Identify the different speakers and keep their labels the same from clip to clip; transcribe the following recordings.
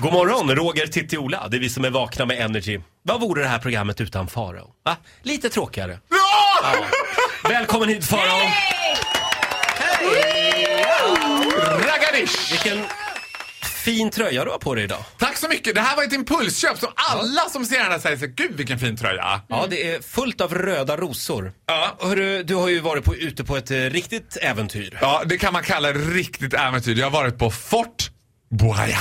Speaker 1: God morgon, Roger, Titti, Ola. Det är vi som är vakna med Energy. Vad vore det här programmet utan Farao? Va? Lite tråkigare. Ja! Välkommen hit Farao!
Speaker 2: Raganish!
Speaker 1: Vilken fin tröja du har på dig idag.
Speaker 2: Tack så mycket! Det här var ett impulsköp som alla som ser den här säger så, gud vilken fin tröja.
Speaker 3: Mm.
Speaker 1: Ja, det är fullt av röda rosor.
Speaker 2: Ja.
Speaker 1: Hörru, du har ju varit på, ute på ett eh, riktigt äventyr.
Speaker 2: Ja, det kan man kalla riktigt äventyr. Jag har varit på Fort Boyard.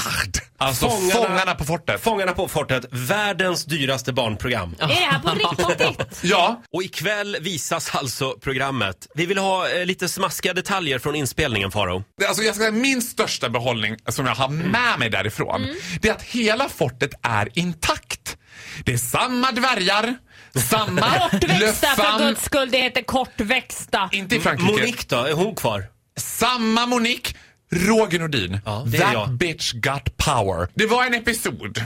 Speaker 2: Alltså
Speaker 1: Fångarna-
Speaker 2: fångarna, på fortet.
Speaker 1: Fångarna på fortet, världens dyraste barnprogram.
Speaker 4: Är det här på riktigt?
Speaker 2: ja,
Speaker 1: Och ikväll visas alltså programmet. Vi vill ha eh, lite smaskiga detaljer från inspelningen Faro.
Speaker 2: det- alltså jag ska säga min största behållning som jag har med mig därifrån. Det är att hela fortet är intakt. Det är samma dvärgar, samma
Speaker 4: Kortväxta för
Speaker 2: löffan.
Speaker 4: guds skull, det heter kortväxta.
Speaker 2: Inte i Frankrike.
Speaker 1: Monique då, är hon kvar?
Speaker 2: Samma Monique, Roger Nordin.
Speaker 1: Ja, det är
Speaker 2: That
Speaker 1: jag.
Speaker 2: bitch got power. Det var en episod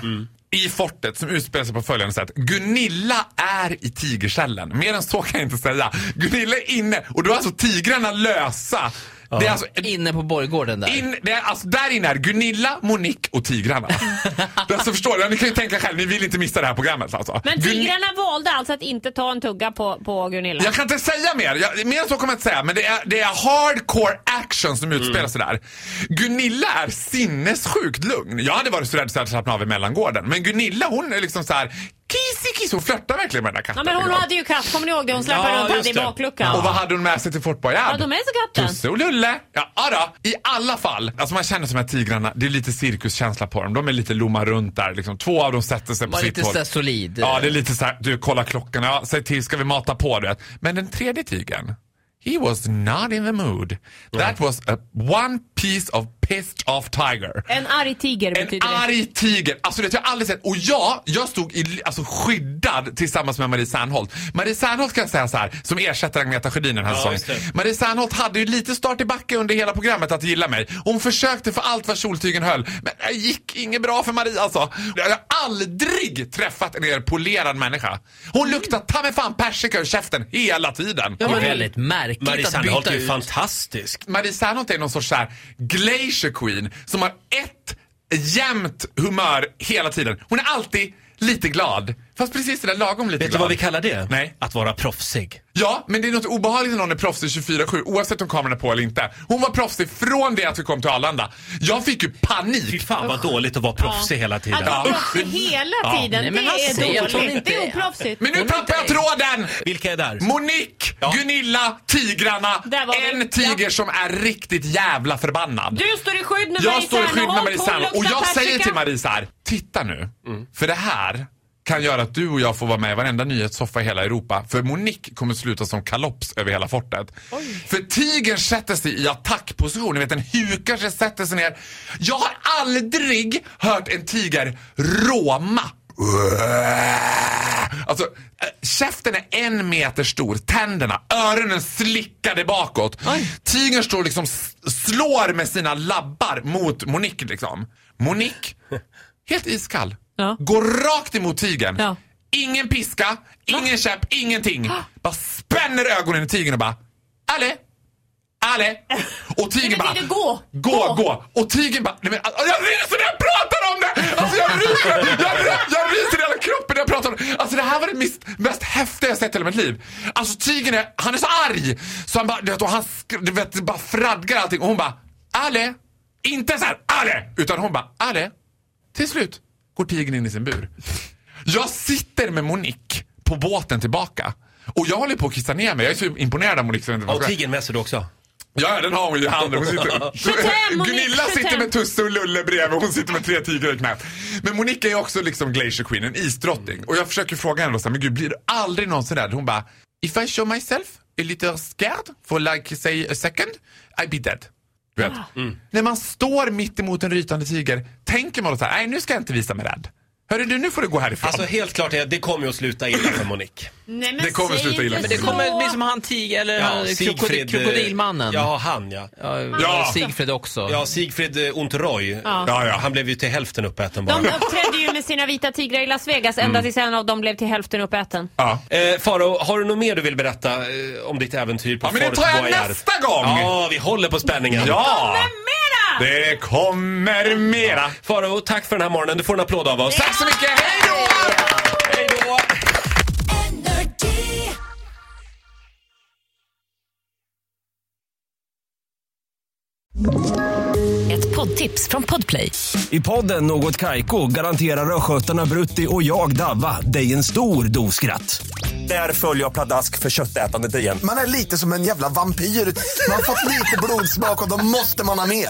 Speaker 2: i fortet som utspelar sig på följande sätt. Gunilla är i tigerkällan. Mer än så kan jag inte säga. Gunilla är inne och då är alltså tigrarna lösa. Det är alltså
Speaker 3: Inne på borggården där.
Speaker 2: in, det är, alltså där inne är Gunilla, Monique och tigrarna. Det är alltså, förstår ni? Ni kan ju tänka själv, ni vill inte missa det här programmet alltså.
Speaker 4: Men
Speaker 2: Gun-
Speaker 4: tigrarna valde alltså att inte ta en tugga på, på Gunilla.
Speaker 2: Jag kan inte säga mer. Jag, mer än så kommer jag inte säga. Men det är, det är hardcore action som
Speaker 3: Mm.
Speaker 2: utspelar sig där. Gunilla är sinnessjukt lugn. Jag hade varit så rädd så jag hade slappnat av i mellangården. Men Gunilla hon är liksom så här kissy kiss. Hon flörtar verkligen med den där katten.
Speaker 4: Ja, men hon
Speaker 2: liksom.
Speaker 4: hade ju katt, kommer ni ihåg det? Hon släpade
Speaker 1: Ja,
Speaker 4: runt henne
Speaker 1: just
Speaker 4: i
Speaker 1: det.
Speaker 4: bakluckan.
Speaker 2: Och vad hade hon med sig till Fort Boyard?
Speaker 4: Hade hon med sig katten?
Speaker 2: Tusse och Lulle. Ja, då. I alla fall. Alltså man känner som de här tigrarna, det är lite cirkuskänsla på dem. De är lite lomma runt där. Liksom. Två av dem sätter sig på
Speaker 3: Var
Speaker 2: sitt
Speaker 3: lite
Speaker 2: håll.
Speaker 3: sådär solid.
Speaker 2: Ja, det är lite så här, du kolla klockan, ja, säg till, ska vi mata på det? Men den tredje tigern, he was not in the mood. That was a one piece of pissed off tiger.
Speaker 4: En arg tiger
Speaker 2: En
Speaker 4: betyder det.
Speaker 2: arg tiger! Alltså det har jag aldrig sett. Och jag, jag stod i, alltså, skyddad tillsammans med Marie Serneholt. Marie Serneholt kan jag säga så här, som ersätter Agneta Sjödin den här
Speaker 1: Ja, just
Speaker 2: säsongen.
Speaker 1: det.
Speaker 2: Marie Serneholt hade ju lite start i backe under hela programmet att gilla mig. Hon försökte för allt vad soltygen höll. Men det gick inget bra för Marie alltså. Jag har aldrig träffat en mer polerad människa.
Speaker 4: Mm.
Speaker 2: Hon luktar ta mig fan persika ur käften hela tiden.
Speaker 3: Det var väldigt märkligt
Speaker 1: Marie
Speaker 3: att
Speaker 1: Sandholt
Speaker 3: byta
Speaker 1: är ju
Speaker 3: ut.
Speaker 1: fantastisk.
Speaker 2: Marie Serneholt är någon sorts så här glacier queen som har ett jämnt humör hela tiden. Hon är alltid lite glad. Fast precis det där lagom lite
Speaker 1: Vet du
Speaker 2: glad.
Speaker 1: vad vi kallar det?
Speaker 2: Nej.
Speaker 1: Att vara proffsig.
Speaker 2: Ja, men det är något obehagligt när någon är proffsig 24-7 oavsett om kameran är på eller inte. Hon var proffsig från det att vi kom till Arlanda. Jag fick ju
Speaker 1: Fy
Speaker 2: panik.
Speaker 1: fan vad dåligt att vara proffsig hela tiden.
Speaker 4: Att vara
Speaker 2: Ja.
Speaker 4: proffsig hela tiden,
Speaker 3: Nej, men han
Speaker 4: det
Speaker 3: ser
Speaker 4: är
Speaker 3: att hon
Speaker 4: dåligt.
Speaker 3: inte
Speaker 4: Det är
Speaker 3: är-
Speaker 4: oproffsigt.
Speaker 2: Men nu
Speaker 3: Hon är
Speaker 2: tappar jag
Speaker 3: inte-
Speaker 2: tråden!
Speaker 1: Vilka är där?
Speaker 2: Monique, Gunilla, tigrarna.
Speaker 4: Där var vi.
Speaker 2: En tiger
Speaker 4: Ja.
Speaker 2: som är riktigt jävla förbannad.
Speaker 4: Du står i skydd med
Speaker 2: Jag
Speaker 4: Marie
Speaker 2: står i skydd med
Speaker 4: Serneholt,
Speaker 2: Marie
Speaker 4: hon
Speaker 2: Serneholt och
Speaker 4: luktar
Speaker 2: jag säger
Speaker 4: persika.
Speaker 2: till Marie så här, titta nu, för det här kan göra att du och jag får vara med i varenda nyhetssoffa i hela Europa. För Monique kommer sluta som kalops över hela fortet. För tigern sätter sig i attackposition, ni vet den hukar sig, sätter sig ner. Jag har aldrig hört en tiger råma. Alltså, äh, käften är en meter stor, tänderna, öronen slickade bakåt. Tigern står liksom s- slår med sina labbar mot Monique liksom. Monique, helt iskall.
Speaker 4: Ja.
Speaker 2: Går rakt emot tigern.
Speaker 4: Ja.
Speaker 2: Ingen piska, ingen käpp, ingenting. Bara spänner ögonen i tigern och bara Ale! Ale! Och tigern
Speaker 4: Det
Speaker 2: bara
Speaker 4: betyder gå.
Speaker 2: Gå, gå! Och tigern bara nej men, alltså, Jag ryser när jag pratar om det! Alltså jag ryser! Jag, ry- jag ryser i hela kroppen när jag pratar om det! Alltså det här var det mest, mest häftiga jag sett i hela mitt liv. Alltså tigern är, han är så arg! Så han bara, du vet, och han sk- du vet, bara fradgar allting och hon bara Ale! Inte så här Ale! Utan hon bara Ale! Till slut går tigern in i sin bur. Jag sitter med Monique på båten tillbaka. Och jag håller på att kissa ner mig. Jag är så imponerad av Monique. så jag vet inte vad jag
Speaker 1: Och
Speaker 2: ska-
Speaker 1: tigern med sig du också.
Speaker 2: Ja, den har hon ju i handen. Hon sitter...
Speaker 4: Tjugotem, Monique,
Speaker 2: Gunilla sitter
Speaker 4: tjugotem.
Speaker 2: med Tusse och Lulle bredvid och hon sitter med tre tigrar i knät. Men Monica är också liksom Glacier Queen, en isdrottning. Och jag försöker fråga henne då så här, men gud blir du aldrig någonsin rädd? Hon bara, if I show myself a little scared for like say a second, I'd be dead. Du vet. När man står mitt emot en rytande tiger, tänker man då så här, nej nu ska jag inte visa mig rädd. Hörru du, nu får du gå härifrån.
Speaker 1: Alltså helt klart är det kommer ju att sluta illa för Monique.
Speaker 4: Nej, men
Speaker 2: Det kommer
Speaker 4: säg
Speaker 2: sluta illa.
Speaker 4: inte
Speaker 3: Men det
Speaker 4: så.
Speaker 3: kommer bli som han tiger, eller han,
Speaker 1: Siegfried,
Speaker 3: krokodil,
Speaker 1: eh,
Speaker 3: krokodilmannen.
Speaker 1: Ja, han ja.
Speaker 3: Ja,
Speaker 2: Ja.
Speaker 3: Sigfrid också.
Speaker 1: Ja, Sigfrid eh, Ontoroy.
Speaker 2: Ja, ja.
Speaker 1: Han blev ju till hälften uppäten bara.
Speaker 4: De uppträdde ju med sina vita tigrar i Las Vegas
Speaker 2: Mm.
Speaker 4: ända tills en av dem blev till hälften uppäten.
Speaker 2: ja.
Speaker 1: Eh, Faro, har du något mer du vill berätta eh, om ditt äventyr på
Speaker 2: Ja, men det
Speaker 1: Fort
Speaker 2: tar jag
Speaker 1: Boyard?
Speaker 2: nästa gång.
Speaker 1: Ja, vi håller på spänningen.
Speaker 2: ja.
Speaker 4: Mera! mera!
Speaker 2: Det kommer mera.
Speaker 1: Farao, tack för den här morgonen. Du får en applåd av oss.
Speaker 2: Tack så mycket, hej då!
Speaker 1: Hej då!
Speaker 5: energy.
Speaker 6: Ett poddtips från Podplay.
Speaker 7: I podden Något Kaiko garanterar östgötarna Brutti och jag, Davva, dig en stor dos skratt. Där följer jag pladask för köttätandet igen.
Speaker 8: Man är lite som en jävla vampyr. Man har fått lite blodsmak och då måste man ha mer.